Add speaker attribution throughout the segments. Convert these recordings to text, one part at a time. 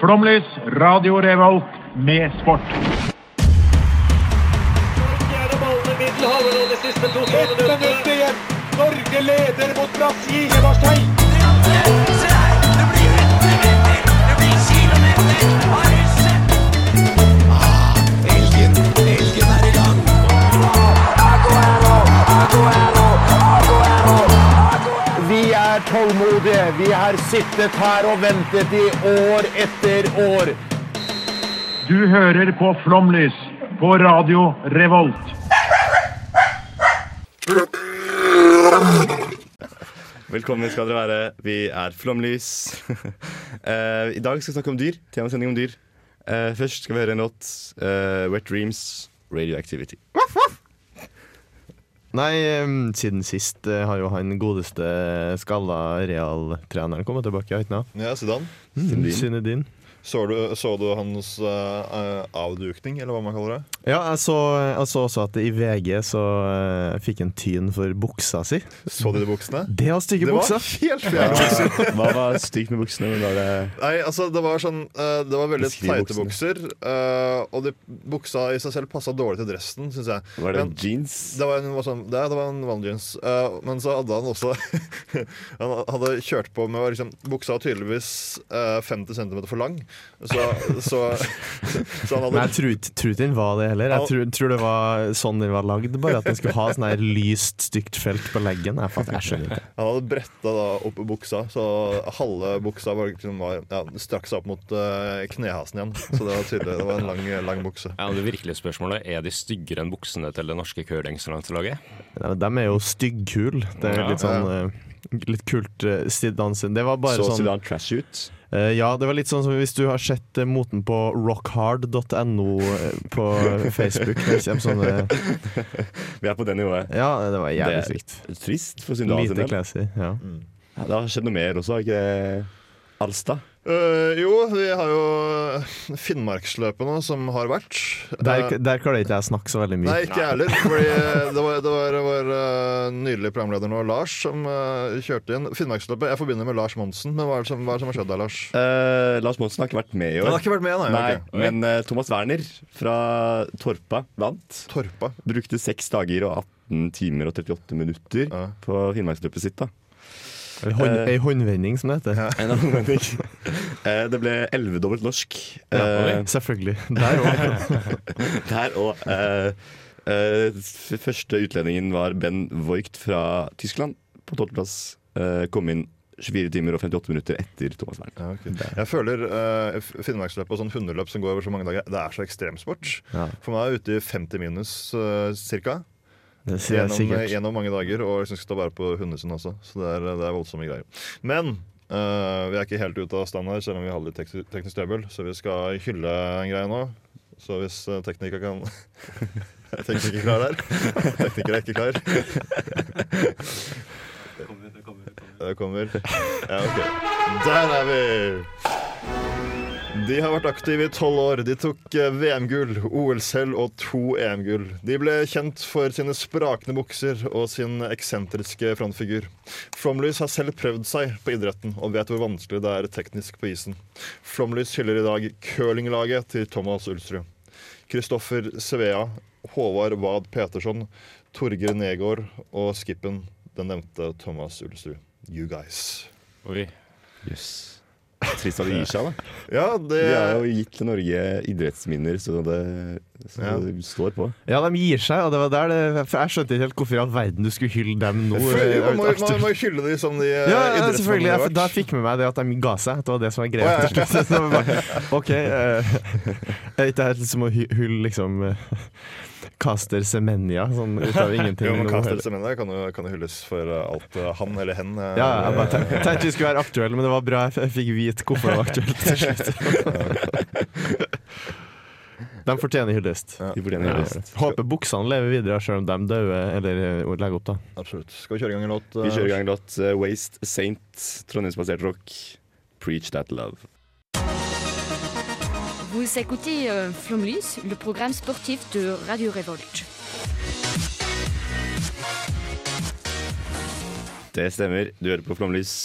Speaker 1: Flomlys, Radio Revolt, med sport.
Speaker 2: Fjerde ballen i middelhavet, og det siste to
Speaker 3: Ett minutt igjen. Norge leder mot Brasil. Marseille. Vi er tålmodige. Vi har sittet her og ventet i år etter år.
Speaker 1: Du hører på Flomlys på Radio Revolt.
Speaker 4: Velkommen skal dere være. Vi er Flomlys. Eh, I dag skal vi snakke om dyr. Temasending om dyr. Eh, først skal vi høre en låt. eh, Wet Dreams, Radioactivity.
Speaker 5: Nei, um, siden sist eh, har jo han godeste skalla realtreneren kommet tilbake, har ikke han?
Speaker 6: Ja, Sudan.
Speaker 4: Syndin.
Speaker 5: Synedin.
Speaker 6: Så du, så du hans eh, avdukning, eller hva man kaller det?
Speaker 5: Ja, jeg så, jeg så også at i VG så eh, fikk han tyn for buksa si.
Speaker 6: Så du de buksene?
Speaker 5: Det var stygge
Speaker 6: Det var
Speaker 5: bukser!
Speaker 6: helt fjerne bukser.
Speaker 4: Hva var stygt med buksene? Men da er det
Speaker 6: Nei, altså, det var sånn eh, Det var veldig
Speaker 4: Beskriv
Speaker 6: teite bukser. eh, og de, buksa i seg selv passa dårlig til dressen, syns jeg.
Speaker 4: var det
Speaker 6: Men-
Speaker 4: jeans?
Speaker 6: Det var en, var sånn, det, det var en vanlig jeans. Eh, men så hadde han også Han hadde kjørt på med å liksom, Buksa var tydeligvis eh, 50 cm for lang. Så, så, så
Speaker 5: Men
Speaker 6: han hadde
Speaker 5: jeg tror ikke- tror ikke den var det heller. Jeg tror, tror det var sånn den var lagd, bare at den skulle ha sånn her lyst, stygt felt på leggen. Jeg, fatter- jeg skjønner ikke.
Speaker 6: Han hadde bretta da opp buksa, så halve buksa var liksom var, ja, strakk seg opp mot eh, knehasen igjen. Så det var tydelig, det var en lang, lang bukse.
Speaker 7: Ja, det virkelige spørsmålet Er de styggere enn buksene til det norske curlinglandslaget?
Speaker 5: Nei, men De er jo styggkule. Det er
Speaker 7: Ja,
Speaker 5: litt sånn eh, Litt kult uh, Zidane sin. Det var bare
Speaker 4: Så
Speaker 5: sånn
Speaker 4: Sudan trash ut?
Speaker 5: Eh, ja, det var litt sånn som hvis du har sett eh, moten på rockhard.no eh, på Facebook. Når det kommer sånne,
Speaker 4: Vi er på det nivået.
Speaker 5: ja, det var jævlig
Speaker 4: Det-
Speaker 5: sykt.
Speaker 4: Trist for Sudan sin
Speaker 5: Lite
Speaker 4: del.
Speaker 5: classy. Ja.
Speaker 4: Ja, Det har skjedd noe mer også, har ikke det? Alstad.
Speaker 6: Eh, jo, vi har jo Finnmarksløpet nå, som har vært.
Speaker 5: Der,
Speaker 6: Eh,
Speaker 5: der klarer ikke jeg å snakke så veldig mye.
Speaker 6: Nei, ikke jeg heller. Fordi det var, det var, det var eh, nydelig programleder nå, Lars, som eh, kjørte inn. Finnmarksløpet jeg forbinder med Lars Monsen, men hva er det som, hva er det som har skjedd der, Lars?
Speaker 4: Eh, Lars Monsen har ikke vært med i år.
Speaker 6: Han har ikke vært med, nei,
Speaker 4: nei
Speaker 6: ok.
Speaker 4: Men eh, Thomas Werner fra Torpa vant.
Speaker 6: Torpa.
Speaker 4: Brukte seks dager og 18 timer og 38 minutter
Speaker 6: Ja.
Speaker 4: på Finnmarksløpet sitt. da
Speaker 5: Ei hånd,
Speaker 6: eh,
Speaker 5: ei håndvending, som det heter.
Speaker 4: En anledning. Eh, Det ble ellevedobbelt norsk.
Speaker 5: Ja,
Speaker 4: Eh,
Speaker 5: selvfølgelig. Der òg.
Speaker 4: Der og eh, eh, f- Første utlendingen var Ben Voigt fra Tyskland. På tolvteplass. Eh, kom inn 24 timer og 58 minutter etter Thomas Werner.
Speaker 6: Ja, ok. Jeg føler eh, Finnmarksløpet og sånn hundeløp som går over så mange dager, det er så ekstremsport.
Speaker 5: Ja.
Speaker 6: For meg er jeg ute i 50 minus eh, cirka.
Speaker 5: Det sier jeg
Speaker 6: Gjennom, eh,
Speaker 5: sikkert.
Speaker 6: gjennom mange dager, og liksom skal ta vare på hundene sine også. Så det er, eh, det er voldsomme greier. Men eh, vi er ikke helt ute av stand her, selv om vi hadde litt tek teknisk trøbbel. Så vi skal hylle en greie nå. Så hvis uh, tekniker kan Tekniker klar der? Tekniker er ikke klar. Det kommer. Ja, ok. Der er vi! De har vært aktive i tolv år. De tok eh, VM-gull, OL-sølv og to EM-gull. De ble kjent for sine sprakne bukser og sin eksentriske frontfigur. Flomlys har selv prøvd seg på idretten og vet hvor vanskelig det er teknisk på isen. Flomlys hyller i dag curlinglaget til Thomas Ulsrud. Kristoffer Svea, Håvard Wad Petersson, Torgeir Negård og skippen den nevnte Thomas Ulsrud. You guys.
Speaker 7: Oi.
Speaker 4: Yes. Trist at det gir seg, da.
Speaker 6: Ja,
Speaker 5: Eh.
Speaker 6: det
Speaker 4: Vi har jo gitt til Norge idrettsminner, så det, så
Speaker 6: Ja.
Speaker 4: det står på.
Speaker 5: Ja, de gir seg, og det var der det For jeg skjønte ikke helt hvorfor i all verden du skulle hylle dem nå.
Speaker 6: Selvfølgelig, Man må, man må
Speaker 5: Ja,
Speaker 6: hylle de som de
Speaker 5: ja,
Speaker 6: eh, idrettsmennene
Speaker 5: selvfølgelig.
Speaker 6: de har
Speaker 5: Jeg,
Speaker 6: vært.
Speaker 5: da fikk med meg det at de ga seg. Det var det som var greia til slutt. Så det var bare, OK. eh, er ikke det helt som å hy- hylle liksom eh, Caster Semenya sånn ut av ingenting?
Speaker 6: Jo, men
Speaker 5: nå
Speaker 6: Kastel
Speaker 5: heller.
Speaker 6: Semenya kan jo, kan jo hylles for eh, alt eh, han eller hen eh,
Speaker 5: ja, jeg bare tenk- tenkte vi skulle være aktuelle, men det var bra jeg f- jeg fikk vite hvorfor det var aktuelt til slutt. De fortjener hyllest.
Speaker 4: Vi fortjener
Speaker 5: Ja.
Speaker 4: hyllest.
Speaker 5: Håper buksene lever videre, sjøl om de dør eller eh, legger opp, da.
Speaker 6: Absolutt. Skal vi kjøre i gang en låt? eh,
Speaker 4: Vi kjører i gang låt eh, Waste Saint, Trondheimsbasert rock. Preach that love.
Speaker 8: Vous écoutez euh, Flomlys, le programme sportif de Radio Révolte.
Speaker 4: Det stemmer. Du hører på Flomlys.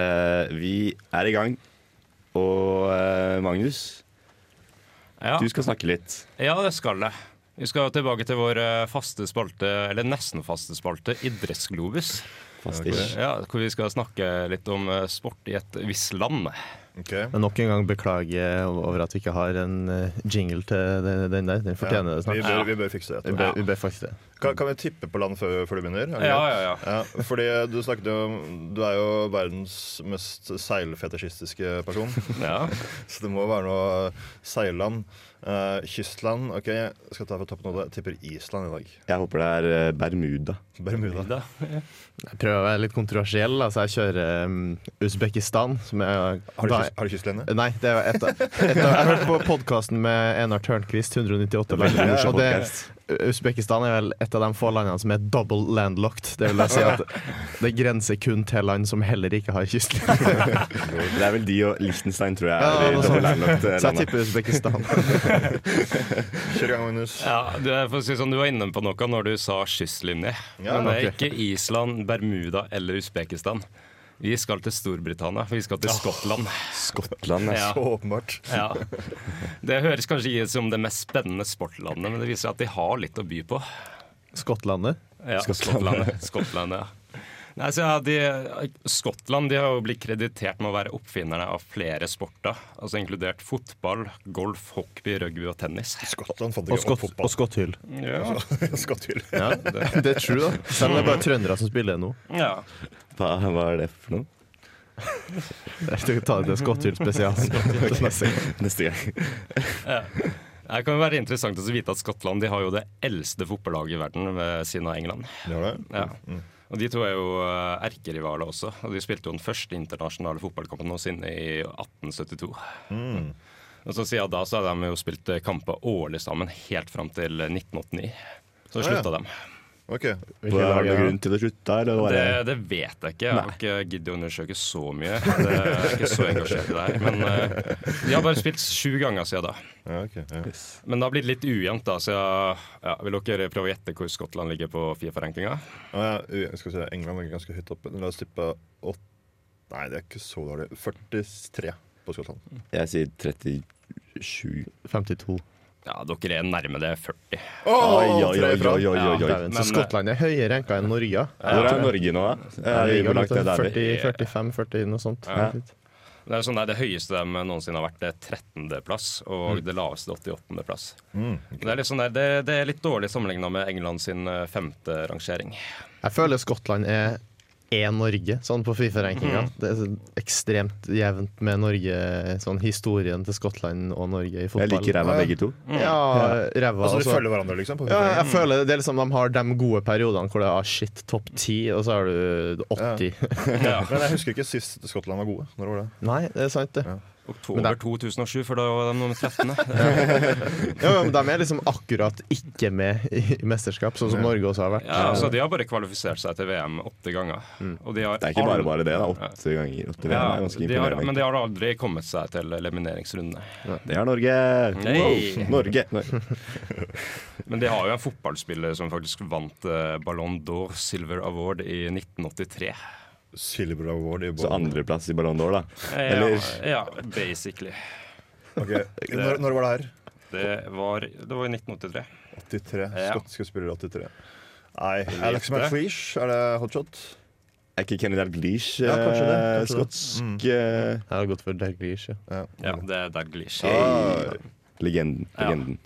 Speaker 4: Eh, vi er i gang. Og eh, Magnus,
Speaker 7: Ja.
Speaker 4: du skal snakke litt.
Speaker 7: ja, det skal det. Vi skal tilbake til vår eh, faste spalte, eller nesten faste spalte, Idrettsglobus.
Speaker 4: Fast ish.
Speaker 7: Ja, hvor vi skal snakke litt om eh, sport i et visst land.
Speaker 6: eh, Ok.
Speaker 5: Men Nok en gang beklage over at vi ikke har en eh, jingle til den- den der. Den fortjener det
Speaker 6: Vi
Speaker 5: snart.
Speaker 6: bør, vi bør fikse det.
Speaker 5: Vi
Speaker 6: etterpå.
Speaker 5: bør, vi bør faktisk det.
Speaker 6: Kan, kan vi tippe på land før, før du begynner? Er det
Speaker 7: Ja,
Speaker 6: greit?
Speaker 7: ja, ja.
Speaker 6: Ja, fordi du snakket jo om Du er jo verdens mest seilfetisjistiske person.
Speaker 7: ja.
Speaker 6: Så det må jo være noe seilland. Eh, kystland. ok, Jeg skal ta fra toppen av det. Tipper Island i dag.
Speaker 4: Jeg håper det er eh, Bermuda.
Speaker 6: Bermuda.
Speaker 7: Da.
Speaker 5: Jeg prøver å være litt kontroversiell. Altså, jeg kjører um, Usbekistan. Som jeg,
Speaker 6: Har du,
Speaker 5: da-
Speaker 6: kyst, har du kystlinje?
Speaker 5: Nei, det var et av, et av Jeg hørte på podkasten med Enar Tørnquist, 198 land.
Speaker 4: veldig morsom
Speaker 5: Og det,
Speaker 4: podcast.
Speaker 5: Usbekistan er vel et av de få landene som er double landlocked. Det vil jeg si at det grenser kun til land som heller ikke har kystlinje.
Speaker 4: Det er vel de og Liechtenstein, tror jeg.
Speaker 5: Ja,
Speaker 4: er i
Speaker 5: noe
Speaker 4: double
Speaker 5: sånt.
Speaker 4: landlocked, eh,
Speaker 5: Så jeg
Speaker 4: landet.
Speaker 5: tipper Usbekistan.
Speaker 6: Kjør i gang, Magnus.
Speaker 7: Ja, du, er- for å si det sånn, du var inne på noe når du sa skysslinje.
Speaker 6: Ja,
Speaker 7: Men det er
Speaker 5: ok.
Speaker 7: ikke Island, Bermuda eller Usbekistan. Vi skal til Storbritannia. Vi skal til Skottland.
Speaker 4: Skottland,
Speaker 7: Ja.
Speaker 4: altså.
Speaker 6: Så åpenbart.
Speaker 7: Ja. Det høres kanskje ikke ut som det mest spennende sportlandet, men det viser at de har litt å by på.
Speaker 5: Skottlandet.
Speaker 7: Ja, Skottlandet. Skottland, ja. Nei, så ja, de, Skottland de har jo blitt kreditert med å være oppfinnerne av flere sporter. Altså inkludert fotball, golf, hockey, rugby og tennis.
Speaker 6: Skottland fant
Speaker 5: Og,
Speaker 6: ikke opp
Speaker 5: skott, og
Speaker 6: fotball.
Speaker 5: skotthyll.
Speaker 7: Ja.
Speaker 6: Skotthyll.
Speaker 5: Ja, det, det er true, da. Selv om det er bare trøndere som spiller det nå.
Speaker 7: ja.
Speaker 4: Hva, hva er det for noe?
Speaker 5: Jeg tar det skotthyll spesial. Neste gang.
Speaker 4: Neste gang.
Speaker 7: Det kan jo være interessant å vite at Skottland de har jo det eldste fotballaget i verden ved siden av England.
Speaker 6: Det var det.
Speaker 7: Ja. Og De to er jo eh, erkerivaler også. og De spilte jo den første internasjonale fotballkampen noensinne i 1872. Og så Siden da så har de jo spilt eh, kamper årlig sammen helt fram til eh, 1989. Så
Speaker 6: ja.
Speaker 7: slutta de.
Speaker 6: Ok.
Speaker 4: Var det noen grunn til å slutte, eller var
Speaker 7: Det,
Speaker 4: det
Speaker 7: det vet jeg ikke. Jeg har ikke giddet å undersøke så mye. Det jeg er ikke så engasjert i det her. Men eh, de har bare spilt sju ganger siden da.
Speaker 6: Ja, ok, ja.
Speaker 7: Men det har blitt litt ujevnt, da, så jeg ja, vil dere prøve å gjette hvor Skottland ligger på Fifa-rankinga?
Speaker 6: Å, Ah, ja, u- skal vi se, England ligger ganske høyt oppe. La oss tippe åt... Nei, det er ikke så dårlig. 43 på Skottland.
Speaker 4: Jeg sier 37.
Speaker 5: 52.
Speaker 7: Ja, dere er nærme det 40.
Speaker 4: Oi, oi, oi,
Speaker 6: tre
Speaker 4: oi,
Speaker 6: ifra.
Speaker 4: oi, oi, oi.
Speaker 5: Dæven, Så Skottland er høyere renka enn Norge.
Speaker 4: Hvor er Norge nå, da? Er vi hvor langt ned er vi?
Speaker 5: 40-45-40, noe sånt.
Speaker 4: Ja.
Speaker 7: Det er jo sånn, nei, det høyeste de noensinne har vært, det er 13.-plass,
Speaker 4: Mm.
Speaker 7: og det laveste 88.-plass. det, er litt sånn der, det, det er litt dårlig sammenligna med England sin eh, femte rangering.
Speaker 5: Jeg føler Skottland er er Norge, sånn på Fifa-rankinga.
Speaker 4: Mm.
Speaker 5: Det er ekstremt jevnt med Norge, sånn historien til Skottland og Norge i
Speaker 4: Jeg
Speaker 5: fotball.
Speaker 4: liker ræva begge to.
Speaker 5: Ja, ræva.
Speaker 6: Altså, de
Speaker 5: altså.
Speaker 6: følger hverandre, liksom? På
Speaker 5: ja, jeg føler det er liksom de har de gode periodene hvor det er ah, shit, topp 10, og så har du 80.
Speaker 7: Ja.
Speaker 6: Men jeg husker ikke sist Skottland var gode. Når var det?
Speaker 5: Nei, det er sant, det.
Speaker 7: Oktober 2007, for da var de nummer 13.
Speaker 5: Ja, men de er liksom akkurat ikke med i mesterskap, sånn som Norge også har vært.
Speaker 7: Ja, altså, de har bare kvalifisert seg til VM åtte ganger. Og de har
Speaker 4: Mm. Det er ikke
Speaker 7: aldri-
Speaker 4: bare bare det, da. Åtte ganger. Åtte VM er
Speaker 7: Ja,
Speaker 4: ganske
Speaker 7: de har, men
Speaker 4: imponerende.
Speaker 7: de har aldri kommet seg til elimineringsrundene.
Speaker 4: Det er Norge!
Speaker 7: Nei.
Speaker 4: Wow. Norge! Norge.
Speaker 7: Men de har jo en fotballspiller som faktisk vant eh, Ballon d'Or Silver Award i 1983.
Speaker 6: Silver Award i
Speaker 4: Så
Speaker 6: bånn.
Speaker 4: andreplass i Ballon d'Or, da.
Speaker 7: Eh,
Speaker 4: Eller
Speaker 7: Ja, ja basically.
Speaker 6: Ok, Når, når var det her?
Speaker 7: Det var, det var i 1983.
Speaker 6: 83.
Speaker 7: Ja.
Speaker 6: Skotske spillere 83. Nei, Alex McLeish, er det hotshot?
Speaker 4: er ikke Kenny Dalglish
Speaker 6: Ja, kanskje det,
Speaker 4: eh,
Speaker 6: kanskje det.
Speaker 5: Mm.
Speaker 4: skotsk eh,
Speaker 5: Jeg har gått for Dalglish. Ja.
Speaker 7: Ja, det er Dalglish.
Speaker 4: legenden?
Speaker 7: Ja.
Speaker 4: legenden.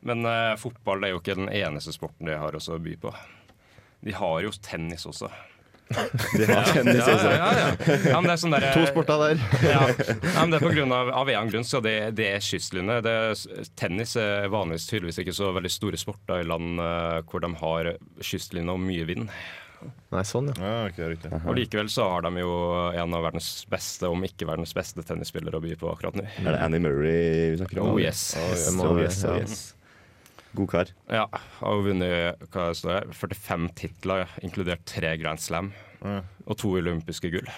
Speaker 7: Men eh, fotball er jo ikke den eneste sporten de har også å by på. De har jo tennis også.
Speaker 4: De har tennis
Speaker 7: Ja, ja,
Speaker 4: også.
Speaker 7: ja, ja. ja men det er sånn der,
Speaker 5: To sporter der.
Speaker 7: Ja. ja, men det er på grunn av, av en annen grunn, så det, det er kystlinje. Det er, s- tennis er vanligvis tydeligvis ikke så veldig store sporter i land eh, hvor de har kystlinje og mye vind.
Speaker 5: Nei, sånn, ja.
Speaker 6: Ja, ok, riktig.
Speaker 7: Og likevel så har de jo en av verdens beste, om ikke verdens beste, tennisspillere å by på akkurat nå.
Speaker 4: Er det Annie Murray vi snakker om?
Speaker 7: Oh yes.
Speaker 4: Yes,
Speaker 5: Det må
Speaker 4: oh,
Speaker 5: være,
Speaker 4: yes, oh,
Speaker 5: ja.
Speaker 4: yes. God kar.
Speaker 7: Ja, har jo vunnet hva står det, 45 titler, inkludert tre Grand Slam. Og to olympiske gull.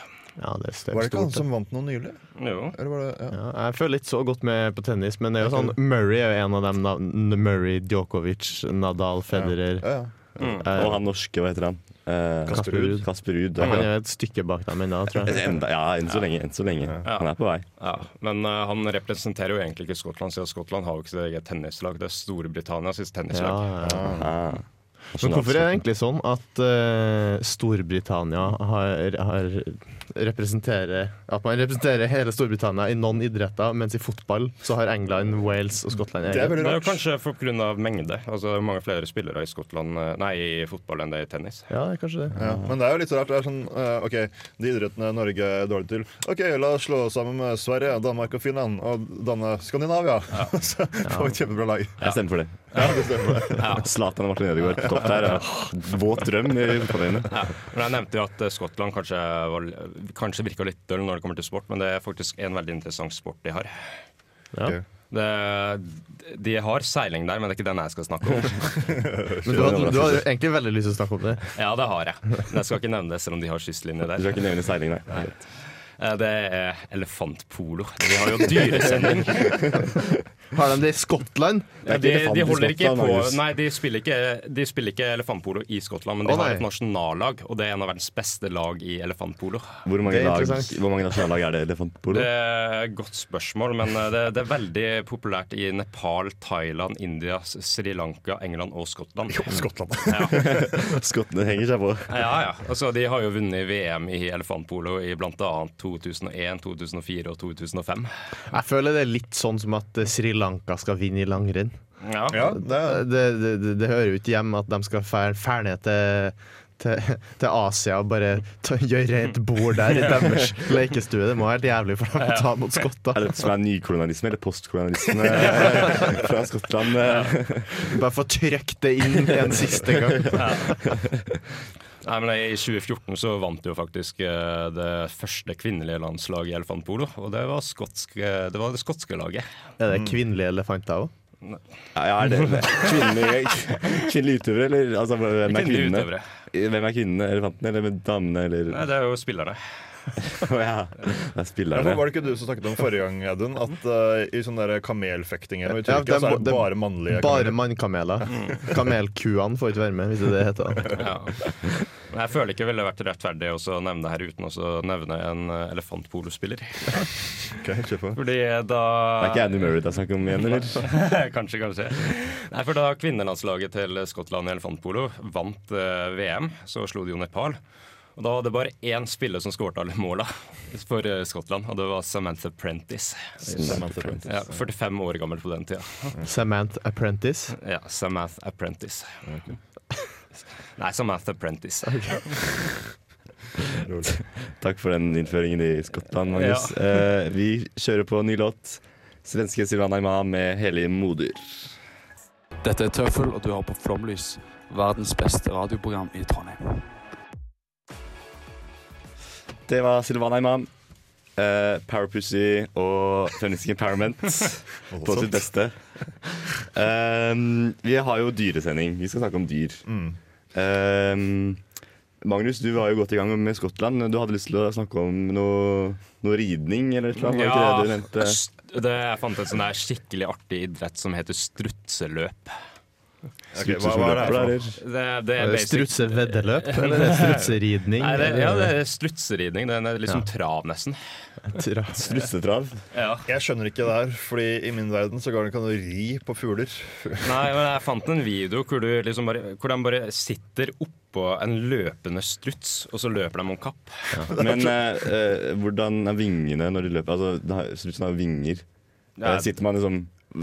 Speaker 5: ja det er
Speaker 6: Var det ikke han
Speaker 5: stort.
Speaker 6: som vant noe nylig?
Speaker 7: Jo.
Speaker 6: Eller var det, ja.
Speaker 5: Ja, jeg føler ikke så godt med på tennis, men det er jo sånn Murray er jo en av dem. navn- Murray, Djokovic, Nadal, Federer.
Speaker 6: Ja, ja.
Speaker 4: Og han norske, hva heter han? Eh,
Speaker 5: Kasper Ruud.
Speaker 4: Kasper Ruud.
Speaker 5: Han er jo et stykke bak dem ennå, tror jeg.
Speaker 4: Enda, ja, enn så lenge. Enn så lenge. Han er på vei.
Speaker 7: Ja, men eh, han representerer jo egentlig ikke Skottland, siden Skottland har jo ikke sitt eget tennislag. Det er Storbritannia sitt
Speaker 5: Ja,
Speaker 7: tennislag.
Speaker 5: ja.
Speaker 4: Ah.
Speaker 5: Men hvorfor er det egentlig sånn at eh, Storbritannia har, har representerer At man representerer hele Storbritannia i noen idretter, mens i fotball så har England, Wales og Skottland
Speaker 6: Det er
Speaker 5: eget?
Speaker 7: Det
Speaker 6: veldig
Speaker 7: er jo
Speaker 6: rart.
Speaker 7: kanskje pga. mengde. Altså, det er mange flere spillere i Skottland eh, Nei, i fotball enn det er i tennis.
Speaker 5: Ja, det er kanskje det.
Speaker 6: Ja, men det er jo litt rart. Det er sånn, eh, ok, De idrettene Norge er dårlig til. Ok, La oss slå sammen med Sverige, Danmark og Finland og danne Skandinavia. Så får vi et kjempebra lag.
Speaker 4: Jeg stemmer for det. Zlatan og Martin Ødegaard på topp der. ja. Våt drøm i fotballøyene.
Speaker 7: Men Jeg nevnte jo at eh, Skottland kanskje, var, kanskje virka litt døll når det kommer til sport, men det er faktisk en veldig interessant sport de har.
Speaker 5: Ja.
Speaker 6: Ok.
Speaker 7: Det, de har seiling der, men det er ikke den jeg skal snakke om.
Speaker 5: Men du hadde, du hadde jo egentlig veldig lyst til å snakke om det.
Speaker 7: Ja, det har jeg. Men jeg skal ikke nevne det, selv om de har kystlinje
Speaker 4: Du
Speaker 7: der.
Speaker 4: skal ikke nevne seiling, nei.
Speaker 7: Eh, Det er elefantpolo. De har jo dyresending.
Speaker 5: Har de det i Skottland?
Speaker 4: Det er ikke
Speaker 7: De, de
Speaker 4: elefant i
Speaker 7: holder ikke
Speaker 4: Skottland,
Speaker 7: på
Speaker 4: Magnus.
Speaker 7: Nei, de spiller ikke, de spiller ikke elefantpolo i Skottland, men de
Speaker 5: Å, nei.
Speaker 7: har et nasjonallag, og det er en av verdens beste lag i elefantpolo.
Speaker 4: Hvor mange,
Speaker 5: Det er
Speaker 4: lag,
Speaker 5: interessant.
Speaker 4: hvor mange nasjonallag er det i elefantpolo?
Speaker 7: Det er et godt spørsmål, men eh, det, det er veldig populært i Nepal, Thailand, India, S- Sri Lanka, England og Skottland.
Speaker 6: Skottland.
Speaker 7: Ja,
Speaker 4: Skottene henger seg på.
Speaker 7: ja, ja. Altså, de har jo vunnet VM i elefantpolo i bl.a. 2001, 2004 og 2005.
Speaker 5: Jeg føler det er litt sånn som at eh, Sri Lanka skal vinne i langrenn.
Speaker 7: Ja.
Speaker 6: Ja, det er
Speaker 5: Det, det, det, det hører jo ikke hjemme at de skal fære fære ned til til, til Asia og bare ta, gjøre rent bord der i deres lekestue. Det må være helt jævlig for dem å ta mot skotter.
Speaker 4: Er det som er nykolonialisme eller postkolonialisme fra Skottland?
Speaker 5: Bare få trykt det inn en siste gang.
Speaker 7: Nei, men I 2014 så vant jo faktisk eh, det første kvinnelige landslaget i elefantpolo. Og det var, skotsk, eh, det var det skotske laget.
Speaker 5: Er det kvinnelige elefanter òg?
Speaker 4: Ja, er det kvinnelige, kvinnelige utøvere, eller altså, hvem er
Speaker 7: Kvinnelige
Speaker 4: kvinnene?
Speaker 7: utøvere.
Speaker 4: Hvem er kvinnene? Elefantene eller damene? Eller?
Speaker 7: Nei, det er jo spillerne.
Speaker 4: Å ja, det er
Speaker 6: Derfor
Speaker 4: spillerne.
Speaker 6: var det ikke du som snakket om forrige gang, Audun, at eh, i sånne der kamelfektinger
Speaker 5: Ja,
Speaker 6: i Tyrkia
Speaker 5: det
Speaker 6: så
Speaker 5: må-
Speaker 6: er det
Speaker 5: det-
Speaker 6: bare mannlige
Speaker 5: Bare mannkameler. Kamelkuene får ikke være med, hvis det er det det heter.
Speaker 7: Ja. Men jeg føler ikke det ville vært rettferdig også å nevne det her uten også å nevne en eh, elefantpolospiller.
Speaker 6: kameler. Ok, kjør på.
Speaker 7: Fordi da
Speaker 4: Det er ikke Andy Murray det er snakk om igjen, eller?
Speaker 7: Kanskje, kanskje. Nei, for da kvinnelandslaget til Skottland i elefantpolo vant eh, VM, så slo de jo Nepal. Og da var det bare én spiller som skåret alle måla for eh, Skottland, og det var Samantha Prentice. Ja, 45 år gammel på den tida.
Speaker 5: Samantha Apprentice.
Speaker 7: Ja, Samath Apprentice. Nei, Samath Apprentice.
Speaker 4: Takk for den innføringen i Skottland, Magnus. Eh, vi kjører på ny låt. Svenske Silvana Imam med 'Hellige moder'.
Speaker 9: Dette er Tøffel, og du hører på Flomlys, verdens beste radioprogram i Trondheim.
Speaker 4: Det var Silvana Imam. Uh, Powerpussy og Feministisk Empowerment på sitt beste. Um, vi har jo dyresending. Vi skal snakke om dyr.
Speaker 6: Mm.
Speaker 4: Um, Magnus, du var jo godt i gang med Skottland. Du hadde lyst til å snakke om noe, noe ridning eller noe? Var ikke det du nevnte?
Speaker 7: st- det, jeg fant en sånn der skikkelig artig idrett som heter strutseløp.
Speaker 6: Ok, hva, hva er det her for noe?
Speaker 7: Det, det er basic-
Speaker 5: Strutseveddeløp? Eller er det strutseridning?
Speaker 7: Nei, det, ja, det er strutseridning. Det er liksom trav, nesten.
Speaker 5: Tra-
Speaker 4: Strutsetrav?
Speaker 6: Jeg skjønner ikke det her, Fordi i min verden så går det ikke an å ri på fugler.
Speaker 7: Nei, men jeg fant en video hvor, du liksom bare, hvor de bare sitter oppå en løpende struts, og så løper de om kapp.
Speaker 4: Men eh, eh, hvordan er vingene når de løper? Altså, det har- Strutsen har vinger.
Speaker 7: Ja,
Speaker 4: Eh, Sitter man liksom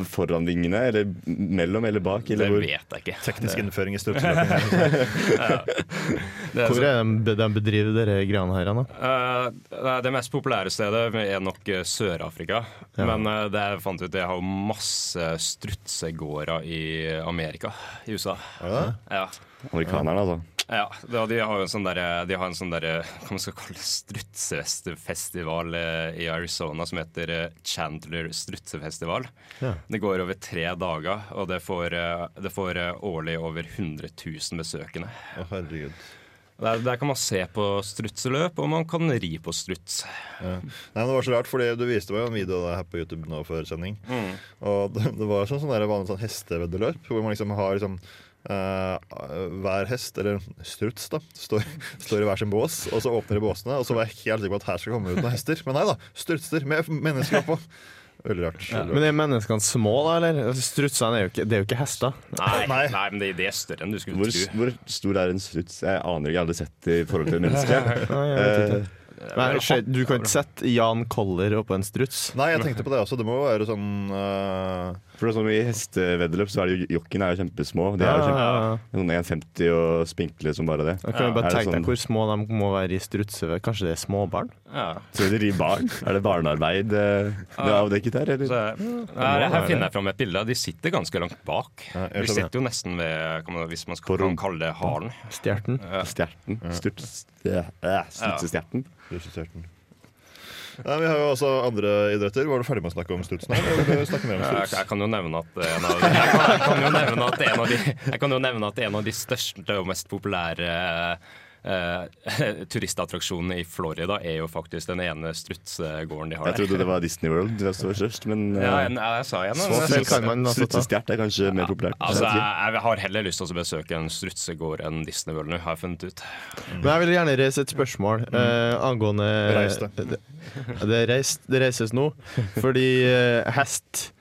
Speaker 4: foran vingene, eller mellom, eller bak?
Speaker 7: Det
Speaker 4: Eller hvor?
Speaker 7: vet jeg ikke.
Speaker 6: Teknisk innføring i strutseløping.
Speaker 7: Det,
Speaker 5: Hvor
Speaker 7: er så,
Speaker 4: Altså-
Speaker 5: er de, de bedriver dere greiene her, da?
Speaker 7: Eh, nei, det mest populære stedet er nok eh, Sør-Afrika. Men eh, det jeg fant ut, jeg har jo masse strutsegårder i Amerika, i USA. Ja.
Speaker 4: Amerikanerne, altså.
Speaker 7: Ja, da, de har jo en sånn derre De har en sånn derre Hva man skal kalle det? Strutsefestival eh, i Arizona som heter eh, Chandler strutsefestival.
Speaker 5: Ja.
Speaker 7: Det går over tre dager, og det får, eh, det får eh, årlig over 100 000 besøkende.
Speaker 6: Å, herregud.
Speaker 7: Der, der kan man se på strutseløp, og man kan ri på struts.
Speaker 6: Nei, men det var så rart, fordi Du viste meg jo en video av det her på YouTube nå før sending. Og det, det var sånn, sånn der vanlig sånn hesteveddeløp, hvor man liksom har liksom eh, hver hest, eller struts, da, står, står i hver sin bås, og så åpner de båsene. Og så var jeg helt sikker på at her skal komme ut noen hester, men nei da. Strutser med mennesker oppå. Veldig rart.
Speaker 5: Men er menneskene små, da? eller? Strutsene er jo ikke, det er jo ikke hester.
Speaker 7: Nei,
Speaker 6: Nei.
Speaker 7: nei, men det, det er større enn du skulle
Speaker 4: Hvor,
Speaker 7: tro.
Speaker 4: hvor stor er en struts? Jeg aner ikke, jeg har aldri sett det i forhold til en menneske. Eh,
Speaker 5: Nei, skje- du kan ikke sette Jan Koller oppå en struts.
Speaker 6: Nei, jeg tenkte på det også. Det må jo være sånn eh,
Speaker 4: for det er sånn I hesteveddeløp så er det jo jokkene er jo kjempesmå. De er jo kjempe, sånn 1,50 og spinkle som bare det.
Speaker 5: Da kan du
Speaker 4: Er
Speaker 5: bare
Speaker 4: det
Speaker 5: tenke
Speaker 4: sånn-
Speaker 5: deg hvor små de må være i strutseved. Kanskje det er småbarn?
Speaker 7: Ja.
Speaker 4: Tror du de rir barn? Er det barnearbeid eh, det er avdekket her,
Speaker 7: Så,
Speaker 4: eller?
Speaker 7: nei, her finner jeg fram et bilde. De sitter ganske langt bak.
Speaker 6: jeg
Speaker 7: De sitter jo nesten ved kan man, Hvis man skal kan kalle det halen.
Speaker 5: Stjerten?
Speaker 4: Stjerten. Struts- eh, eh, Strutsestjerten.
Speaker 6: Russestjerten. Nei, vi har jo også andre idretter. Var du ferdig med å snakke om strutsen? her? Eller vil du snakke mer om
Speaker 7: Jeg,
Speaker 6: struts?
Speaker 7: jeg kan jo nevne at en av, jeg kan, jeg kan jo nevne at en av de Jeg kan jo nevne at en av de største og mest populære eh, turistattraksjonene i Florida er jo faktisk den ene strutsegården de har
Speaker 4: Jeg
Speaker 7: der.
Speaker 4: trodde det var Disney World det står først, men eh,
Speaker 7: Ja, en, jeg sa en.
Speaker 5: Så selv kan man da sitte.
Speaker 4: strutsestjert er kanskje mer populært.
Speaker 7: Altså,
Speaker 4: Jeg vet ikke.
Speaker 7: jeg, jeg har heller lyst til å besøke en strutsegård enn Disney World nå, har jeg funnet ut.
Speaker 5: Men jeg vil gjerne reise et spørsmål
Speaker 4: Mm.
Speaker 5: eh, angående
Speaker 6: Reis det.
Speaker 5: det. Det, er reist, det reises nå. Fordi eh, hest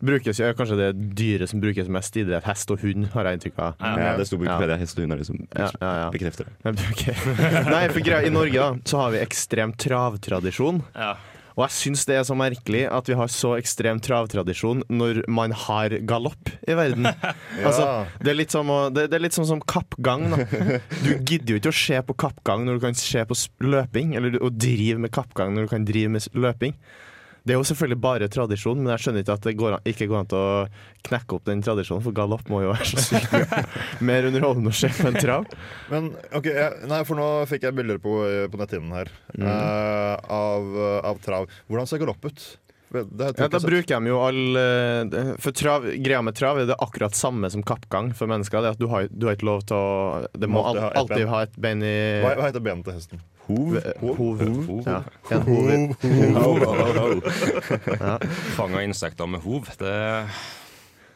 Speaker 5: brukes jo Kanskje det dyret som brukes mest i idrett. Hest og hund, har jeg inntrykk av.
Speaker 4: ja, det sto på Wikipedia. Hest og hund er det som
Speaker 5: Ja, ja, ja.
Speaker 4: bekrefter det.
Speaker 5: Jeg bruker- Nei, for greia I Norge da, så har vi ekstrem travtradisjon.
Speaker 7: Ja.
Speaker 5: Og jeg syns det er så merkelig at vi har så ekstrem travtradisjon når man har galopp i verden. Altså, det, er litt som å, det, det er litt sånn som kappgang. Da. Du gidder jo ikke å se på kappgang når du kan se på s- løping, eller du- å drive med kappgang når du kan drive med s- løping. Det er jo selvfølgelig bare tradisjon, men jeg skjønner ikke at det går an, ikke går an til å knekke opp den tradisjonen, for galopp må jo være så sykt mye mer underholdende å se på enn trav.
Speaker 6: Men ok, jeg, nei, for nå fikk jeg bilder på, på netthinnen her
Speaker 5: Mhm.
Speaker 6: eh, av, av trav. Hvordan ser galopp ut? Det har jeg
Speaker 5: Ja, da
Speaker 6: ikke sett.
Speaker 5: bruker de jo all eh, det- For trav, greia med trav er det akkurat samme som kappgang for mennesker. Det er at du har, du har ikke lov til å Det må
Speaker 6: Måtte
Speaker 5: al
Speaker 6: ha ett
Speaker 5: alltid
Speaker 6: ben.
Speaker 5: ha et ben i
Speaker 6: hva, hva heter benet til hesten?
Speaker 4: Hov.
Speaker 5: Hov.
Speaker 4: Hov.
Speaker 5: Ja. En hov. i-
Speaker 7: Fang av insekter med hov. Det,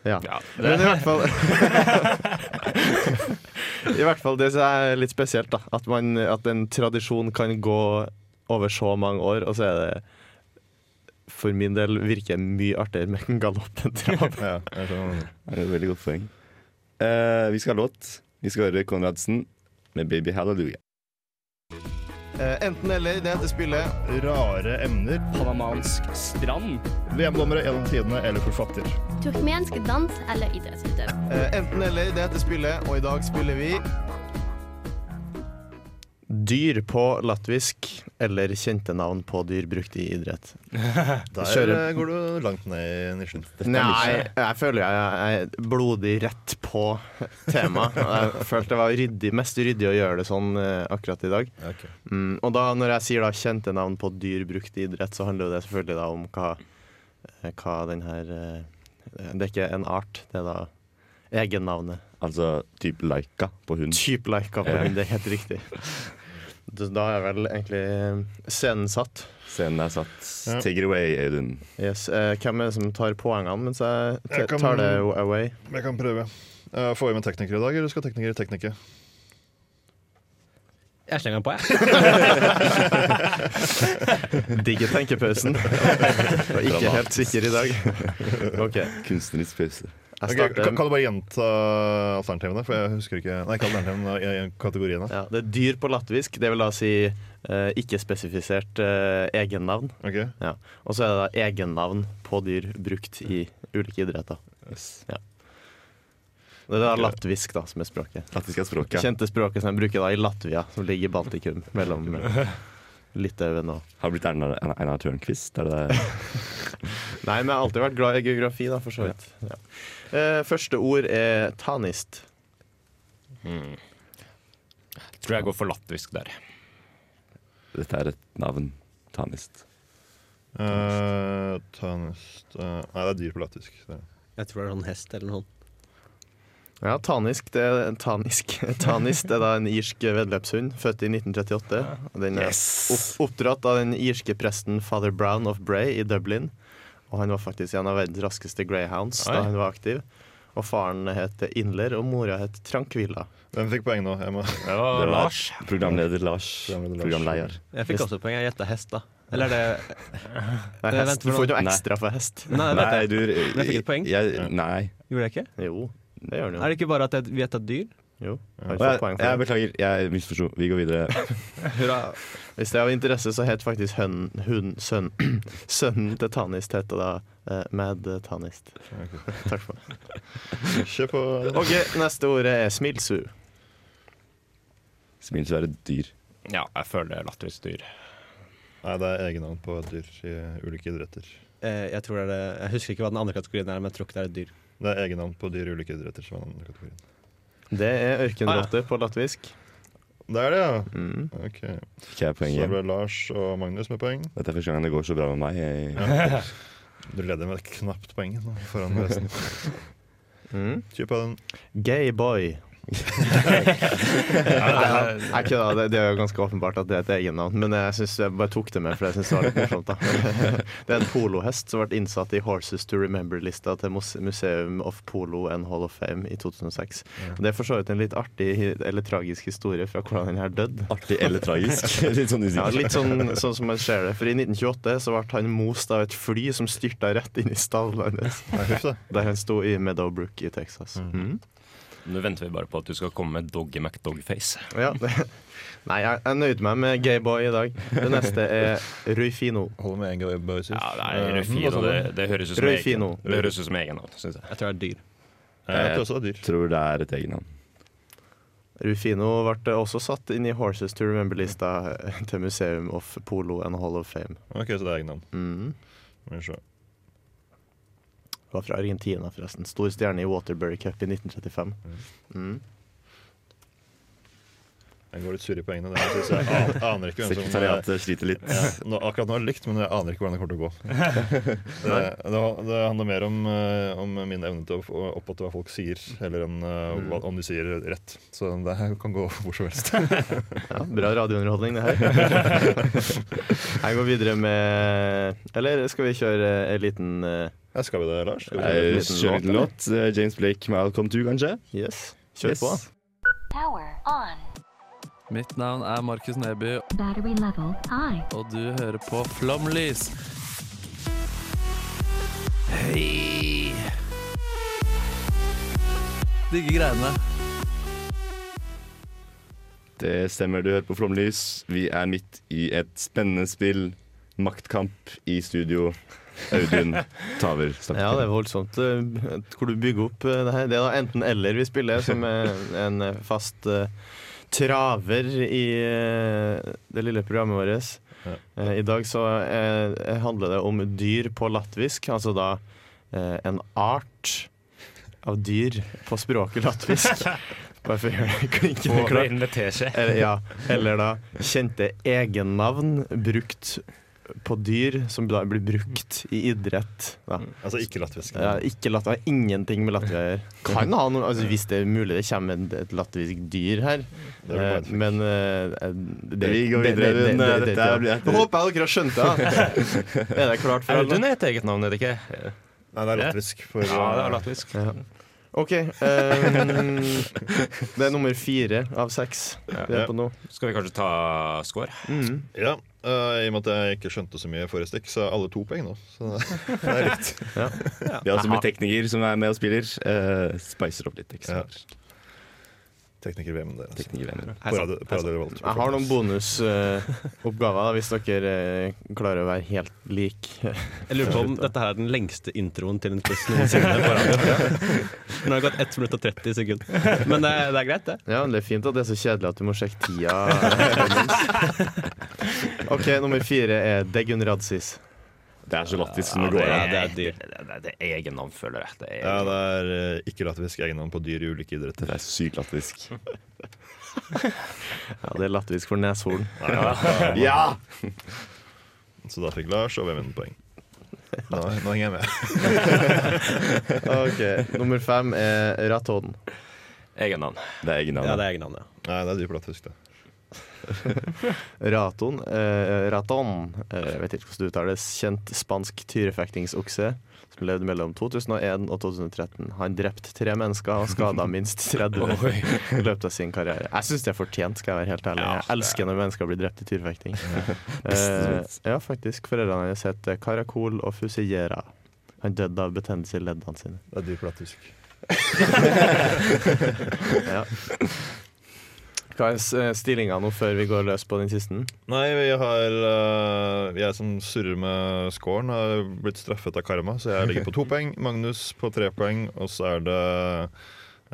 Speaker 5: Ja.
Speaker 7: ja,
Speaker 5: Men i
Speaker 7: det,
Speaker 5: hvert fall I hvert fall det som er litt spesielt, da. At, man, at en tradisjon kan gå over så mange år, og så er det for min del virker mye artigere med en galopp enn trav.
Speaker 6: Ja, jeg skjønner.
Speaker 4: Det er et veldig godt poeng. Eh, vi skal ha låt. Vi skal høre Konradsen med 'Baby Hallelujah'.
Speaker 5: Eh, enten eller, det heter spillet.
Speaker 6: Rare emner.
Speaker 9: Panamansk strand.
Speaker 6: VM-dommere gjennom tidene eller forfatter.
Speaker 10: Turkmensk dans eller idrettsutøver.
Speaker 5: Eh, Enten eller, det heter spillet, og i dag spiller vi Dyr på latvisk, eller kjente navn på dyr brukt i idrett.
Speaker 6: Der
Speaker 5: Kjører.
Speaker 6: eh, går du langt ned i nisjen.
Speaker 5: Nei, jeg føler jeg er blodig rett på temaet. Jeg følte det var ryddig, mest ryddig å gjøre det sånn eh, akkurat i dag.
Speaker 6: Ok.
Speaker 5: Mm, og da når jeg sier da kjente navn på dyr brukt i idrett, så handler jo det selvfølgelig da om hva, eh, hva den her eh, Det er ikke en art, det er da egennavnet.
Speaker 4: Altså type Laika på hund.
Speaker 5: Typ like av det er helt riktig. Da da er vel egentlig eh, scenen satt.
Speaker 4: Scenen er satt. Take it away, Audun.
Speaker 5: Yes. Eh, hvem er det som tar poengene mens jeg t-
Speaker 6: Jeg kan-
Speaker 5: tar det o- away?
Speaker 6: Jeg kan prøve. Eh, Får vi med teknikere i dag, eller skal teknikere teknikke?
Speaker 11: Jeg slenger den på, jeg.
Speaker 5: Digger tenkepausen. Var ikke helt sikker i dag. OK.
Speaker 4: Kunstnerisk pause.
Speaker 5: Jeg
Speaker 6: Ok,
Speaker 5: starter
Speaker 6: kan, kan du bare gjenta alternativene? For jeg husker ikke Nei, ikke alternativene, i- i kategoriene.
Speaker 5: ja, Det er dyr på latvisk, det vil da si eh, ikke-spesifisert eh, egennavn.
Speaker 6: Ok.
Speaker 5: Ja. Og så er det da egennavn på dyr brukt i ulike idretter. Ja. Det er da latvisk da, som er språket.
Speaker 4: Latvisk er språket.
Speaker 5: kjente språket som de bruker da i Latvia, som ligger i Baltikum, mellom eh, Litauen og
Speaker 4: Har blitt Erna, Erna- Erna Tørnquist. Er det
Speaker 5: Nei, men jeg har alltid vært glad i geografi, da, for så vidt. Ja. Eh, første ord er tanist.
Speaker 7: tror jeg går for latvisk der.
Speaker 4: Dette er et navn. Tanist.
Speaker 6: Eh, Tønnest eh, Nei, det er dyr på latvisk. Det er-
Speaker 11: Jeg tror det er sånn hest eller noe sånt.
Speaker 5: Ja, tanisk det er, tanisk. tanist er da en irsk veddeløpshund, født i 1938. Og Den er opp, oppdratt av den irske presten father Brown of Bray i Dublin. Og han var faktisk en av verdens raskeste greyhounds
Speaker 7: Oi.
Speaker 5: da han var aktiv. Og faren het Inler, og mora het Tranquilla.
Speaker 6: Hvem fikk poeng nå? Emma?
Speaker 4: Det var Programleder Lars. Programleder.
Speaker 11: Jeg fikk også poeng. Jeg gjetta hest, da. Eller er det
Speaker 5: Nei,
Speaker 11: Eh,
Speaker 5: hest.
Speaker 11: vent,
Speaker 5: Du får ikke noe
Speaker 4: hvordan-
Speaker 5: ekstra for hest.
Speaker 11: Nei, det vet
Speaker 4: Nei,
Speaker 11: jeg.
Speaker 4: du
Speaker 11: Men jeg fikk et poeng.
Speaker 4: Jeg, nei.
Speaker 11: Gjorde jeg ikke?
Speaker 5: Jo, det gjør
Speaker 11: Er
Speaker 5: den jo.
Speaker 11: det ikke bare at jeg gjetta dyr?
Speaker 5: Jo, har
Speaker 4: Å,
Speaker 5: ikke fått
Speaker 4: Jeg, jeg
Speaker 5: poeng for det.
Speaker 4: beklager, jeg misforsto. Vi går videre.
Speaker 5: Hvis det er av interesse, så het faktisk hønnen, hun, sønn, sønnen til Tanist het da eh, Mad Tanist. Takk for meg.
Speaker 6: Kjør på.
Speaker 5: OK, neste ordet er smilsu.
Speaker 4: Smil så er et dyr.
Speaker 7: Ja, jeg føler det er latterlig dyr.
Speaker 6: Nei, det er egennavn på et dyr i ulike idretter.
Speaker 11: Eh, Jeg tror det er det Jeg husker ikke hva den andre kategorien er, men jeg tror ikke det er et dyr.
Speaker 6: Det er egennavn på dyr i ulike idretter. som er den andre kategorien.
Speaker 5: Det er
Speaker 11: Ah,
Speaker 5: ørkenrotte på latvisk.
Speaker 6: Det er det, ja.
Speaker 5: Mm.
Speaker 6: Ok,
Speaker 4: Ikke jeg
Speaker 6: Så
Speaker 4: poenget.
Speaker 6: ble Lars og Magnus med poeng.
Speaker 4: Dette er første gang det går så bra med meg. Jeg,
Speaker 6: Du leder med et knapt poeng nå foran resten.
Speaker 5: Mm.
Speaker 6: Kjør på den.
Speaker 5: Gay boy. Nei, nei, ikke da, det, det er jo ganske åpenbart at det er et egennavn, men jeg, synes jeg bare tok det med. For jeg synes Det var litt morsomt da Det er en polohest som ble innsatt i Horses to Remember-lista til Mus- Museum of Polo and Hall of Fame i 2006. Det er for så vidt en litt artig eller tragisk historie fra hvordan den her døde.
Speaker 4: artig eller tragisk. Litt sånn
Speaker 5: Ja,
Speaker 4: usikker.
Speaker 5: litt sånn, sånn som man ser det. For i 1928 så ble han most av et fly som styrta rett inn i stallen hans,
Speaker 6: Nei, huff da.
Speaker 5: der han sto i Meadowbrook i Texas. Mm.
Speaker 7: Nå venter vi bare på at du skal komme med Doggy McDogface.
Speaker 5: Ja. Nei, jeg, jeg nøyde meg med gayboy i dag. Det neste er Ruifino.
Speaker 6: Holder med en gang, boys.
Speaker 7: Ja, nei,
Speaker 11: Eh,
Speaker 6: Eh, hm,
Speaker 7: Røyfino, det, det høres ut som egen,
Speaker 5: Røyfino.
Speaker 7: det høres ut som egen navn, syns jeg.
Speaker 11: Jeg tror det er dyr.
Speaker 6: Jeg
Speaker 5: Eh,
Speaker 6: tror også det er dyr.
Speaker 4: Tror det er et egennavn.
Speaker 5: Rufino ble også satt inn i Horses to Remember-lista til Museum of Polo and Hall of Fame.
Speaker 6: Ok, så det er egennavn.
Speaker 5: Mm.
Speaker 6: Skal vi se.
Speaker 5: Var fra Argentina, forresten. Stor stjerne i Waterbury Cup i 1935. Mm.
Speaker 6: Jeg går litt sur i poengene. der, jeg synes jeg an- aner ikke hvem som eh,
Speaker 4: Sekretariatet sliter litt.
Speaker 6: ja, nå, Akkurat nå er det likt, men jeg aner ikke hvordan det kommer til å gå. Det, det, det handler mer om, eh, om min evne til å få oppfatte hva folk sier, heller enn eh, hva, om de sier rett. Så det her kan gå hvor som helst.
Speaker 5: Ja, bra radiounderholdning, det her. Jeg går videre med Eller skal vi kjøre en liten eh,
Speaker 6: Ja, skal vi det, Lars? Skal vi
Speaker 5: Nei.
Speaker 4: Eh, Kjør en liten låt. Eh, James Blake med I'll Come To, kanskje?
Speaker 5: Yes, kjør
Speaker 4: Yes.
Speaker 5: på.
Speaker 10: Power on.
Speaker 9: Mitt navn er Markus Neby,
Speaker 10: Battery level high.
Speaker 9: og du hører på Flomlys. Hei! Digge greiene.
Speaker 4: Det stemmer, du hører på Flomlys. Vi er midt i et spennende spill. Maktkamp i studio. Audun Taver snakker.
Speaker 5: Ja, det er voldsomt eh, hvor du bygger opp eh, det her. Det er da enten eller vi spiller, som er en eh, fast eh, traver i eh, det lille programmet vårt. Eh, I dag så eh, handler det om dyr på latvisk, altså da eh, en art av dyr på språket latvisk. Bare for å gjøre det klinkende klart.
Speaker 7: med teskje.
Speaker 5: Eller, ja, eller da kjente egennavn brukt på dyr som da blir brukt i idrett. Da.
Speaker 6: Altså ikke latvisk.
Speaker 5: Ja, ikke Latvia, har ingenting med Latvia å gjøre. Kan ha noe, altså Hvis det er mulig, det kommer en- et latvisk dyr her.
Speaker 6: Det er
Speaker 5: Eh,
Speaker 6: bare-
Speaker 5: Men eh, det,
Speaker 4: Vi går videre, Audun. Dette er-
Speaker 5: Jeg håper dere har skjønt det. da. Er det klart for alle?
Speaker 7: Audun er et eget navn, er det ikke?
Speaker 6: Nei, det er latvisk. For,
Speaker 7: Ja, det er latvisk.
Speaker 5: Ja. OK. ehm, det er nummer fire av seks vi er på nå.
Speaker 7: Skal vi kanskje ta score?
Speaker 5: Mm.
Speaker 6: Ja, eh, I og med at jeg ikke skjønte så mye forrige stikk, så er alle to poeng nå. Så det det er likt.
Speaker 4: Vi har også altså med tekniker som er med og spiller. Eh, spicer opp litt. Ikke
Speaker 6: Ja.
Speaker 4: sant?
Speaker 6: Tekniker-VM der. Altså.
Speaker 4: Tekniker er med.
Speaker 6: På radio, på radio Revolt.
Speaker 5: Jeg har noen bonusoppgaver hvis dere eh, klarer å være helt eh, like.
Speaker 11: Jeg lurer på om dette her er den lengste introen til en quiz noensinne. på radio. Nå har det gått 1 minutt og 30 sekunder. Men det, det er greit, det.
Speaker 5: Ja, men Det er fint at det er så kjedelig at du må sjekke tida. OK, nummer fire er Degun Radzis.
Speaker 4: Det er så latvisk som det går
Speaker 11: Ja,
Speaker 4: an.
Speaker 11: det er dyr.
Speaker 7: Det, det, det, det er egen navn, føler jeg. Det er
Speaker 6: Ja, det er eh, ikke latvisk egennavn på dyr i ulike idretter.
Speaker 4: Det er sykt latvisk.
Speaker 5: Ja, det er latvisk for neshorn.
Speaker 4: Ja!
Speaker 6: Så da fikk Lars og VM en poeng. Nå, nå henger jeg med.
Speaker 5: OK, Nummer fem er Raton.
Speaker 7: egen navn.
Speaker 4: Det er egen
Speaker 11: Ja,
Speaker 4: navn.
Speaker 11: det er egennavnet.
Speaker 6: Nei, det er dyr på latvisk, det.
Speaker 5: Raton, eh, Raton eh, jeg vet ikke hvordan det uttales, kjent spansk tyrefektingsokse som levde mellom 2001 og 2013. Han drepte tre mennesker og skada minst 30
Speaker 9: Oi.
Speaker 5: i løpet av sin karriere. Jeg syns det er fortjent, skal jeg være helt ærlig. Jeg elsker når mennesker blir drept i tyrefekting. Eh, ja, faktisk. Foreldrene hans het Caracol og Fusillera. Han døde av betennelse i leddene sine.
Speaker 6: Det er dyp lattersk.
Speaker 5: ja. Hva er s- eh, stillinga nå før vi går løs på den siste?
Speaker 6: Nei, vi har eh, Jeg som surrer med scoren, har blitt straffet av karma, så jeg ligger på to poeng. Magnus på tre poeng, og så er det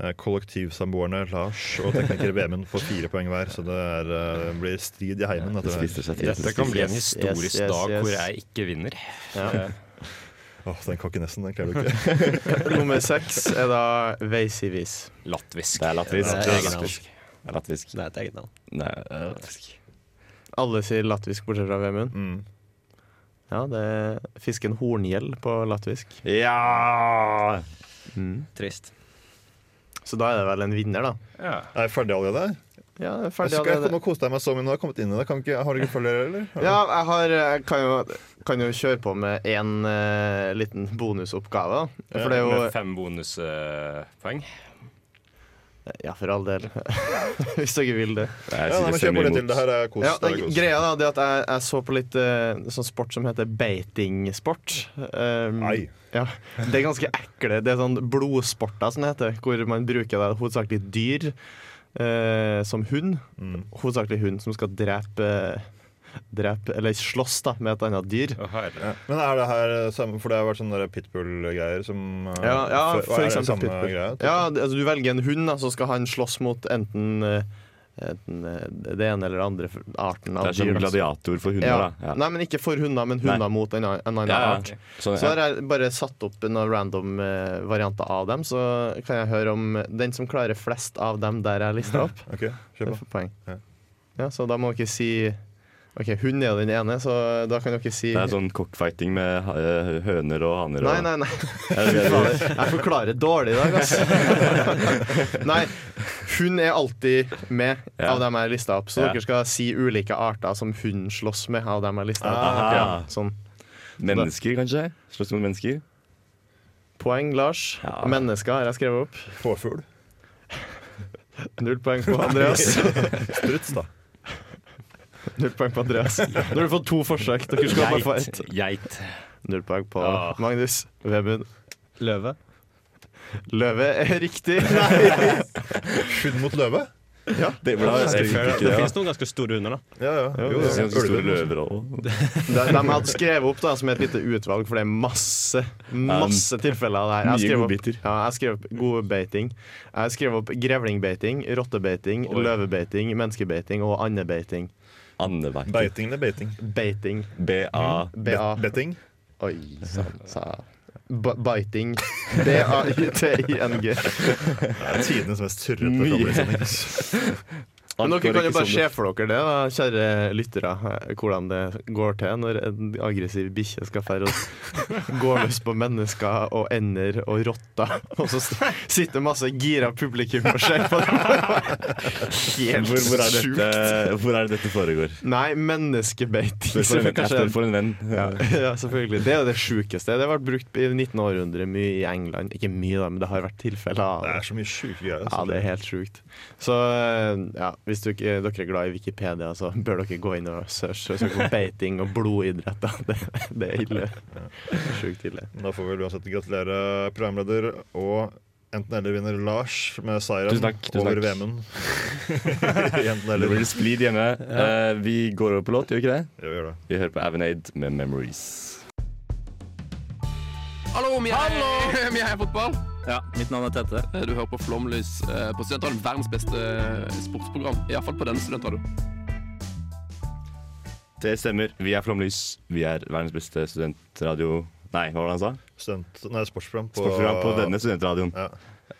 Speaker 6: eh, kollektivsamboerne Lars og tekniker Vemund får fire poeng hver, så det er, eh, blir strid i heimen. dette her.
Speaker 7: Dette kan bli en historisk dag hvor jeg ikke vinner.
Speaker 5: Ja.
Speaker 6: Åh, den kokkenessen, den klarer du ikke.
Speaker 5: Nummer seks er da Veisivis.
Speaker 7: Latvisk.
Speaker 4: Det er latvisk.
Speaker 5: Det er eget navn.
Speaker 4: Det er latvisk.
Speaker 11: Det er et eget navn.
Speaker 4: Det er latvisk.
Speaker 5: Alle sier latvisk bortsett fra Vemund.
Speaker 6: Mm.
Speaker 5: Ja, det er fisken horngjell på latvisk.
Speaker 4: Ja!
Speaker 11: Trist.
Speaker 5: Så da er det vel en vinner, da.
Speaker 6: Er jeg ferdig allerede?
Speaker 5: Ja, det er
Speaker 6: Jeg
Speaker 5: ferdig
Speaker 6: skal-
Speaker 5: allerede.
Speaker 6: Nå koste jeg meg så mye. Nå har jeg kommet inn i det. Kan ikke, har du ikke følger, eller? Har du-
Speaker 5: Ja, jeg, har, jeg kan, jo, kan jo kjøre på med én eh, liten bonusoppgave. da. For det er jo
Speaker 7: Med fem bonuspoeng.
Speaker 5: Ja, for all del. Hvis dere vil det.
Speaker 4: Jeg
Speaker 6: Ja,
Speaker 4: synes jeg
Speaker 6: nei, men Kjør på
Speaker 4: stemmer
Speaker 6: litt til.
Speaker 4: imot.
Speaker 6: Det her er kos.
Speaker 5: Ja,
Speaker 6: det er kos.
Speaker 5: greia da, det er at jeg, jeg så på litt eh, sånn sport som heter beitingsport. Um,
Speaker 6: Nei.
Speaker 5: ja, det er ganske ekle. Det er sånn blodsporter som det heter, hvor man bruker da, hovedsakelig dyr eh, som hund.
Speaker 6: Mm.
Speaker 5: Hovedsakelig hund som skal drepe, drepe Eller slåss da, med et annet dyr.
Speaker 7: Å, herre.
Speaker 6: Men er det her eh, samme For det har vært sånne der pitbull-greier som eh,
Speaker 5: Ja, ja
Speaker 6: før-
Speaker 5: for
Speaker 6: er det
Speaker 5: eksempel
Speaker 6: samme
Speaker 5: pitbull.
Speaker 6: greia?
Speaker 5: Ja, det- altså, du velger en hund, da, så skal han slåss mot enten, eh, enten eh, det ene eller det andre arten
Speaker 4: Det
Speaker 5: av
Speaker 4: er som
Speaker 5: dyr. da.
Speaker 4: gladiator for hunder,
Speaker 5: ja.
Speaker 4: da. Ja.
Speaker 5: Nei, men ikke for hunder, men hunder mot en annen, en annen
Speaker 4: Ja, ja.
Speaker 5: art.
Speaker 4: Sånn,
Speaker 5: Så
Speaker 4: ja.
Speaker 5: har jeg bare satt opp noen random eh, varianter av dem, så kan jeg høre om den som klarer flest av dem der jeg lista opp.
Speaker 6: Ok, kjør
Speaker 5: Det
Speaker 6: på.
Speaker 5: får poeng.
Speaker 6: Ja.
Speaker 5: Ja, så da må dere si OK, hund er jo den ene, så da kan dere si
Speaker 4: Det er sånn cockfighting med eh, høner og haner.
Speaker 5: Nei,
Speaker 4: og-
Speaker 5: nei, nei.
Speaker 4: Er det det du-
Speaker 5: Fader, Jeg forklarer dårlig i dag, altså. Nei, hun er alltid med
Speaker 4: Ja.
Speaker 5: av dem jeg har lista opp. Så
Speaker 4: Ja.
Speaker 5: dere skal si ulike arter som hun slåss med av dem jeg har lista opp.
Speaker 4: Aha.
Speaker 5: Ja, sånn.
Speaker 4: Mennesker, kanskje? Slåss mot mennesker?
Speaker 5: Poeng, Lars.
Speaker 4: Ja.
Speaker 5: Mennesker har jeg skrevet opp.
Speaker 6: Påfugl.
Speaker 5: Null poeng på Andreas.
Speaker 6: Struts, da.
Speaker 5: Null poeng på Andreas. Nå har du fått to forsøk. Dere skal bare få ett.
Speaker 7: Geit. Geit.
Speaker 5: Null poeng på
Speaker 7: Ah.
Speaker 5: Magnus. Vemund.
Speaker 11: Løve.
Speaker 5: Løve er riktig.
Speaker 6: Hund mot løve?
Speaker 4: Det var ganske
Speaker 11: Det,
Speaker 4: fint.
Speaker 11: det
Speaker 4: Ja.
Speaker 11: fins noen ganske store hunder, da.
Speaker 6: Ja, ja.
Speaker 4: Det
Speaker 6: Jo,
Speaker 4: er
Speaker 6: ja.
Speaker 4: ganske store
Speaker 6: Ulven.
Speaker 4: løver også.
Speaker 5: De, de hadde skrevet opp da, som et lite utvalg, for det er masse masse tilfeller av det her.
Speaker 4: mye
Speaker 5: skrev
Speaker 4: godbiter.
Speaker 5: Opp, ja, jeg skrev opp godbeiting. Jeg skrev opp grevlingbeiting, rottebeiting, løvebeiting, menneskebeiting og andebeiting.
Speaker 4: Andevakt.
Speaker 6: Beiting eller beiting?
Speaker 5: Beiting.
Speaker 4: BA.
Speaker 5: BA.
Speaker 6: Betting?
Speaker 5: Oi sann, sa B Biting. B-a-i-t-i-n-g.
Speaker 6: Det er tidenes mest surrete
Speaker 4: sånn.
Speaker 6: problemstilling.
Speaker 5: Men
Speaker 4: Alt
Speaker 5: dere
Speaker 4: går
Speaker 5: kan jo
Speaker 4: ikke
Speaker 5: bare
Speaker 4: som
Speaker 5: se
Speaker 4: det-
Speaker 5: for dere det, da, kjære lyttere, eh, hvordan det går til når en aggressiv bikkje skal fære og gå løs på mennesker og ender og rotter, og så s- sitter masse gira publikum og ser på dem. Helt
Speaker 4: Hvor, hvor, er
Speaker 5: sjukt.
Speaker 4: dette, hvor er det dette foregår?
Speaker 5: Nei, menneskebeiting.
Speaker 4: Spør for
Speaker 5: som
Speaker 4: en, jeg
Speaker 5: kanskje er-
Speaker 4: spør for en venn.
Speaker 5: ja, selvfølgelig. Det er jo det sjukeste. Det har vært brukt i 19. århundre mye i England. Ikke mye, da, men det har vært tilfeller av
Speaker 6: Det er så mye sjuke greier. altså.
Speaker 5: Ja, det er helt sjukt. Så eh, ja, hvis du, ikke- dere er glad i Wikipedia, så bør dere gå inn og searche søke på beiting og blodidrett. da. Det, det er ille. Sjukt ille.
Speaker 6: Da får vi vel uansett gratulere programleder og enten-eller-vinner Lars med seieren
Speaker 4: Tusen takk, tusen
Speaker 6: over
Speaker 4: takk.
Speaker 6: Vemund. I
Speaker 4: Det
Speaker 6: enten-eller.
Speaker 4: blir splid hjemme. Eh, vi går over på låt, gjør vi ikke det?
Speaker 6: Jo, gjør det.
Speaker 4: Vi hører på Avenade med 'Memories'.
Speaker 9: Hallo, vi er, vi er fotball. Ja, Mitt navn er Tette. Du hører på Flomlys eh, på Studentradioen. Verdens beste eh, sportsprogram. Iallfall på denne studentradioen.
Speaker 4: Det stemmer. Vi er Flomlys. Vi er verdens beste studentradio Nei, hva var det han sa?
Speaker 6: Student, nei, sportsprogram på,
Speaker 4: Sportsprogram på denne studentradioen.
Speaker 6: Ja.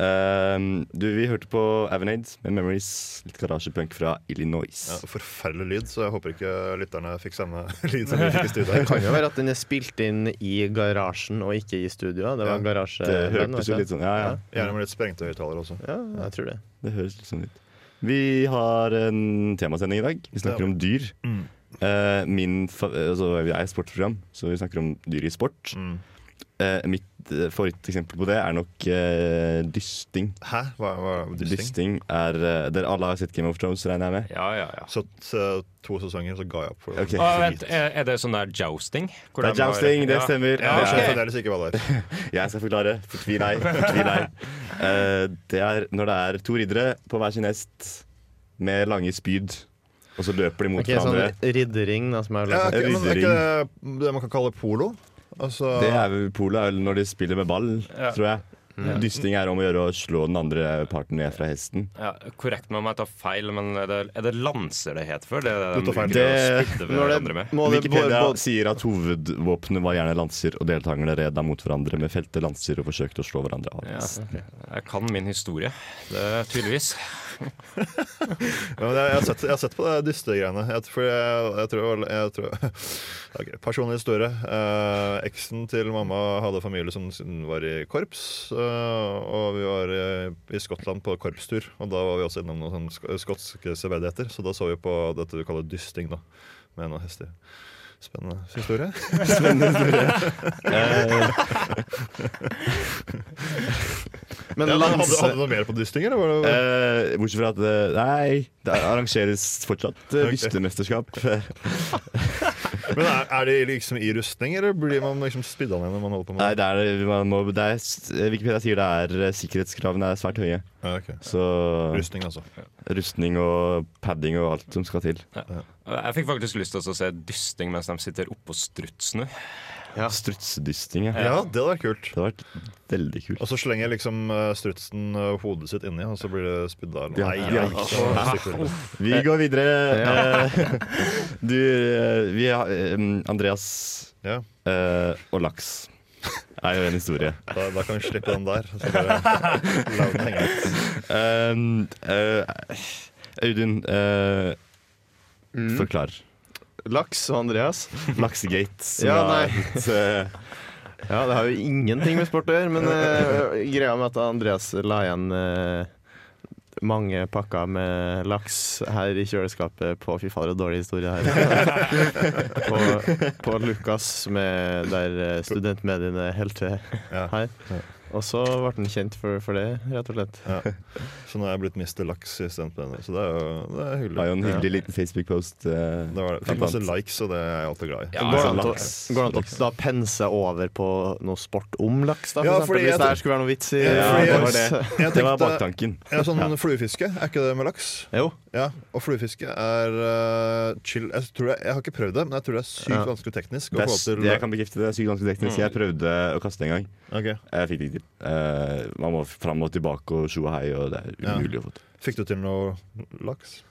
Speaker 4: Ehm, du, vi hørte på Avenade med 'Memories'. Litt garasjepunk fra Illinois.
Speaker 6: Ja, forferdelig lyd, så jeg håper ikke lytterne fikk samme lyd som vi fikk i studio.
Speaker 5: Det kan jo være at den er spilt inn i garasjen og ikke i studio. Det var en garasje
Speaker 4: Det hørtes jo litt sånn Ja, ja.
Speaker 6: Gjerne med litt sprengte høyttalere også.
Speaker 5: Ja, jeg tror det.
Speaker 4: Det høres litt sånn ut. Vi har en temasending i dag. Vi snakker om dyr.
Speaker 6: Mm.
Speaker 4: Eh, min fa altså, vi er et sportsprogram, så vi snakker om dyr i sport. Eh, mitt eh, favoritteksempel på det er nok eh, dysting.
Speaker 6: Hæ? Hva, hva dysting?
Speaker 4: Dysting er eh, Dere alle har sett Game of Thrones, regner jeg med?
Speaker 7: Ja, ja, ja.
Speaker 6: Så t- to sesonger, så ga jeg opp. for det.
Speaker 4: Ok.
Speaker 7: Å, vent, er, er det sånn der jousting? Hvor
Speaker 4: Det er
Speaker 7: de har-
Speaker 4: jousting, det
Speaker 7: Ja.
Speaker 4: stemmer.
Speaker 7: Ja,
Speaker 6: Jeg
Speaker 4: Det
Speaker 6: skjønner
Speaker 7: ok.
Speaker 6: fremdeles ikke hva det er.
Speaker 4: Jeg skal forklare. Fortvil ei. Fortvil ei. Eh, det er når det er to riddere på hver sin hest med lange spyd, og så løper de mot
Speaker 5: Ok, sånn
Speaker 4: hverandre.
Speaker 5: riddering, da, som jeg har
Speaker 6: Ja,
Speaker 5: lært.
Speaker 6: ok, men er ikke det det man kan kalle polo? Altså,
Speaker 4: Det er vel polet er vel når de spiller med ball,
Speaker 7: Ja.
Speaker 4: tror jeg. Dysting er om å gjøre å slå den andre parten ned fra hesten.
Speaker 7: Ja, korrekt meg om jeg tar feil, men er det, er det lanser det het før? Det er det
Speaker 6: Du
Speaker 7: de
Speaker 6: tar feil.
Speaker 7: bruker å spydde hverandre med?
Speaker 5: Må det både,
Speaker 4: Wikipedia sier at hovedvåpenet var gjerne lanser, og deltakerne red da mot hverandre med felte lanser og forsøkte å slå hverandre av.
Speaker 7: Ja, jeg kan min historie, det er tydeligvis.
Speaker 6: Ja, men jeg, jeg, har sett, jeg har sett på det dystegreiene. Jeg, for jeg, jeg tror, jeg, tror Ok, Personlig historie. Eh, eksen til mamma hadde familie som var i korps. eh, og vi var eh, i Skottland på korpstur, og da var vi også innom noen sånne sk- skotske severdigheter. Så da så vi på dette vi kaller dysting, da. Med noen hester. Spennende historie.
Speaker 5: Men
Speaker 6: Ja, men hadde,
Speaker 5: lanse
Speaker 6: hadde du noe mer på dysting, eller? Var det,
Speaker 4: Eh, bortsett fra at eh, Nei, det arrangeres fortsatt eh, dystemesterskap. Eh,
Speaker 6: men er, er de liksom i rustning, eller blir man liksom spidda ned når man holder på
Speaker 4: Nei,
Speaker 6: med det?
Speaker 4: det er, man må, det er, Wikipedia sier det er eh, sikkerhetskravene er svært høye.
Speaker 6: Ja, ok.
Speaker 4: Så
Speaker 6: Rustning, altså.
Speaker 4: rustning og padding og alt som skal til.
Speaker 7: Jeg fikk faktisk lyst til å se dysting mens de sitter oppå strutsen.
Speaker 4: Strutsedysting, ja.
Speaker 6: Ja, det hadde vært kult.
Speaker 4: Det hadde vært veldig kult.
Speaker 6: Og så slenger liksom eh, strutsen eh, hodet sitt inni, og så blir det spydda.
Speaker 4: Ja,
Speaker 6: Nei,
Speaker 4: ja.
Speaker 6: nei, ikke så stygt.
Speaker 4: Vi går videre. Eh, Du, eh, vi har eh, Andreas
Speaker 6: Ja,
Speaker 4: eh, og laks. er jo en historie.
Speaker 6: da, da kan vi slippe den der. Så bare la den henge ut.
Speaker 4: Um, eh, Audun, eh,
Speaker 6: Mm.
Speaker 4: forklar.
Speaker 5: laks og Andreas.
Speaker 4: Laksegate. som
Speaker 5: Ja,
Speaker 4: har
Speaker 5: nei.
Speaker 4: blitt, eh,
Speaker 5: Ja, det har jo ingenting med sport å gjøre, men eh, greia med at Andreas la igjen eh, mange pakker med laks her i kjøleskapet på Fy fader, dårlig historie her. på, på Lukas, med, der eh, studentmediene helt til
Speaker 6: Ja.
Speaker 5: her. Og så ble han kjent for, for det, rett og slett.
Speaker 6: Så nå er jeg blitt Mr. Laks i stedet for denne, så det er jo det er
Speaker 4: det var
Speaker 6: hyggelig.
Speaker 4: jo en hyggelig liten Facebook-post. eh,
Speaker 6: Det var, fikk masse likes, og det er jeg alltid glad i.
Speaker 5: går det
Speaker 4: altså,
Speaker 5: an til å-
Speaker 4: laks.
Speaker 5: går det an til å da pense over på noe sport om laks, da? For
Speaker 6: Ja,
Speaker 5: eksempel,
Speaker 6: fordi
Speaker 5: hvis
Speaker 6: jeg
Speaker 5: det
Speaker 6: tror-
Speaker 5: her skulle være noe vits i
Speaker 6: Ja, fordi
Speaker 4: det var
Speaker 5: Laks.
Speaker 4: det.
Speaker 6: Jeg
Speaker 4: Det var
Speaker 6: tenkte-
Speaker 4: baktanken.
Speaker 6: Ja, sånn fluefiske, er ikke det med laks?
Speaker 5: Jo.
Speaker 6: Ja, Og fluefiske er eh, chill jeg, tror jeg, jeg har ikke prøvd det, men jeg tror det er sykt
Speaker 5: Ja.
Speaker 6: vanskelig teknisk. å
Speaker 4: Det er,
Speaker 6: få
Speaker 4: s-
Speaker 6: til-
Speaker 4: jeg kan bekrefte det. det er sykt ganske teknisk. Jeg prøvde å kaste en gang.
Speaker 6: Ok.
Speaker 4: Jeg fikk det ikke til. Eh, man må fram og tilbake og tjo og hei, og det er
Speaker 6: Ja.
Speaker 4: umulig å få til.
Speaker 6: Fikk du til noe laks?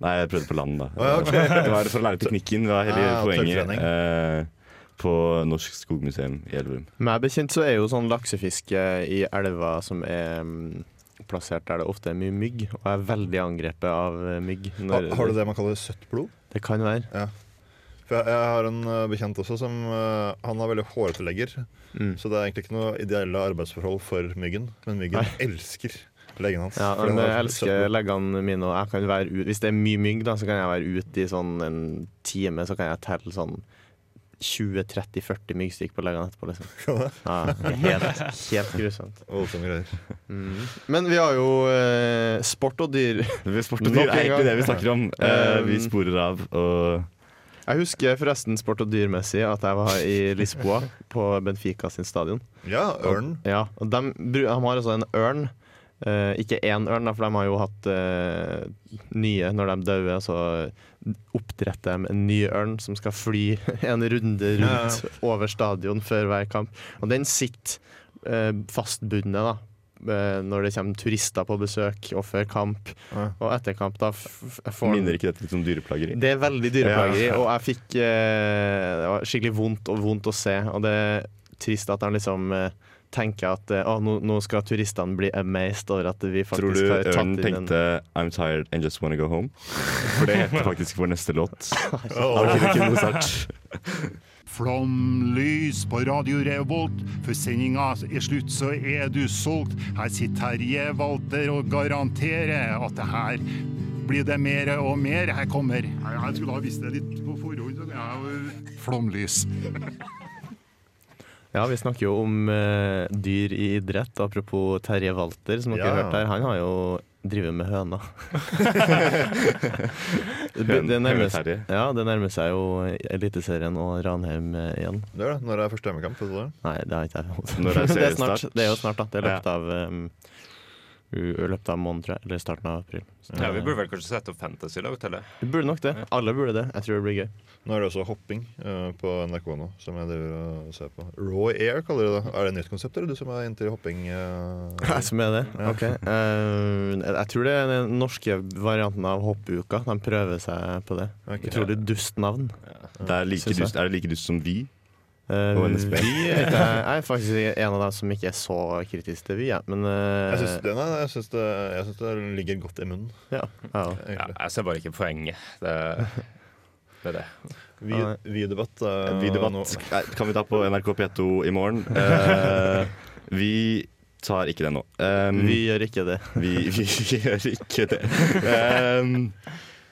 Speaker 4: Nei, jeg prøvde på land, da.
Speaker 6: ja, ok.
Speaker 4: Det var for å lære teknikken. Det var hele
Speaker 6: Ah,
Speaker 4: poenget.
Speaker 6: tørrtrening.
Speaker 4: Eh, på Norsk skogmuseum i Elverum.
Speaker 5: Meg bekjent så er jo sånn laksefiske i elver som er mm, plassert der det ofte er mye mygg, og jeg er veldig angrepet av eh, mygg.
Speaker 6: Har,
Speaker 5: når-
Speaker 6: har du det man kaller søtt blod?
Speaker 5: Det kan være.
Speaker 6: For jeg, jeg har en eh, bekjent også som eh, Han har veldig hårete legger.
Speaker 5: Mm.
Speaker 6: Så det er egentlig ikke noe ideelle arbeidsforhold for myggen. Men myggen elsker leggen hans.
Speaker 5: Ja,
Speaker 6: for
Speaker 5: men
Speaker 6: den
Speaker 5: jeg
Speaker 6: har
Speaker 5: elsker leggene mine, og jeg kan være ut, hvis det er mye mygg, da, så kan jeg være ute i sånn en time, så kan jeg telle sånn 20-30-40 myggstykk på leggene etterpå, liksom. Ja, det er helt, helt grusomt.
Speaker 6: Voldsomme greier.
Speaker 5: Men vi har jo eh, sport og dyr.
Speaker 4: Sport og dyr
Speaker 5: Nok
Speaker 4: er
Speaker 5: en gang.
Speaker 4: egentlig det vi snakker om. Eh, vi
Speaker 5: Um,
Speaker 4: sporer av og
Speaker 5: Jeg husker forresten sport og dyrmessig at jeg var i Lisboa, på Benfica sin stadion.
Speaker 6: Ja, ørnen.
Speaker 5: Ja, og de, bru- de har altså en ørn. Eh, ikke én ørn, da, for de har jo hatt eh, nye når de dauer. Så oppdretter de en ny ørn som skal fly en runde rundt over stadion før hver kamp. Og den sitter eh, fastbundet da, eh, når det kommer turister på besøk, og før kamp
Speaker 6: Ja.
Speaker 5: og etter kamp. Da f f- får den-
Speaker 4: minner ikke dette litt om dyreplageri.
Speaker 5: det er veldig dyreplageri, og jeg fikk eh, Det var skikkelig vondt og vondt å se. Og det er trist at han liksom eh, tenker at eh, «Å, nå, nå skal turistene bli amazed over at vi
Speaker 4: Tror du
Speaker 5: faktisk har tatt
Speaker 4: ørnen
Speaker 5: inn en
Speaker 4: tenkte 'I'm tired and just wanna go home'? For det heter faktisk vår neste låt.
Speaker 6: Åh.
Speaker 4: Av Kirken Mozart.
Speaker 12: Flomlys på Radio Revolt, for sendinga er slutt, så er du solgt. Her sitter Terje Walter og garanterer at det her blir det mer og mer. Her kommer Jeg skulle ha visst det litt på forhånd. så jeg- Flomlys.
Speaker 5: Ja, vi snakker jo om eh, dyr i idrett. Apropos Terje Walter, som dere
Speaker 3: Ja.
Speaker 5: har hørt her. Han har jo drevet med høna. det,
Speaker 6: Høn-
Speaker 5: det, nærmer,
Speaker 6: Høne-Terje.
Speaker 5: ja, det nærmer seg jo Eliteserien og Ranheim eh, igjen.
Speaker 6: Det er det. Når er første hjemmekamp? Vet du det?
Speaker 5: Nei, det har ikke jeg fått.
Speaker 6: Når er
Speaker 5: det, er
Speaker 6: seriestart?
Speaker 5: snart, det er jo snart, da. Det er
Speaker 6: Ja.
Speaker 5: løpet av um, u- løpet av måneden, tror jeg. Eller starten av april. Så
Speaker 7: Ja, Vi
Speaker 5: det-
Speaker 7: burde vel kanskje sette opp Fantasy-lag til det.
Speaker 5: vi burde nok det. Alle burde det. Jeg tror det blir gøy.
Speaker 6: Nå er det også hopping eh, på NRK nå, som jeg driver og ser på. Raw Air kaller de det. Er det et nytt konsept, eller du som er inntil hopping? eh?
Speaker 5: Jeg som er det?
Speaker 6: Ja.
Speaker 5: Ok. Eh, jeg tror det er den norske varianten av hoppuka. De prøver seg på det. Utrolig dust navn.
Speaker 4: Det er, like
Speaker 5: Synes jeg.
Speaker 4: dust, er det like dust som Vy?
Speaker 5: Eh,
Speaker 4: og NSB?
Speaker 5: vi er ikke- jeg er faktisk en av dem som ikke er så kritisk til Vy, jeg. Men eh,
Speaker 6: Jeg syns det, nei, jeg synes det, jeg synes det ligger godt i munnen.
Speaker 5: ja, ja.
Speaker 7: Ja, jeg ser bare ikke poenget. Det, det er det.
Speaker 6: Vi- Videodebatt. eh,
Speaker 4: Videodebatt
Speaker 6: nå-
Speaker 4: Nei, kan vi ta på NRK P2 i morgen. Eh, vi tar ikke det nå. Um,
Speaker 5: Vi gjør ikke det.
Speaker 4: vi, vi gjør ikke det. Um,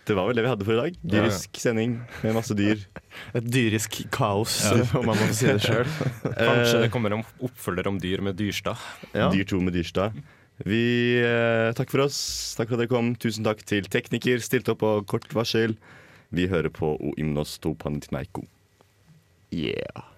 Speaker 4: det var vel det vi hadde for i dag.
Speaker 5: Ja, ja.
Speaker 4: Dyrisk sending med masse dyr.
Speaker 5: Et dyrisk kaos, om man må si det Eh, sjøl.
Speaker 7: Kanskje det kommer en oppfølger om dyr med Dyrstad.
Speaker 5: Ja.
Speaker 4: Dyr to med Dyrstad. Vi eh, Takk for oss. Takk for at dere kom. Tusen takk til tekniker, stilte opp på kort varsel. Vi hører på O Imnos to Panitinaico. Yeah.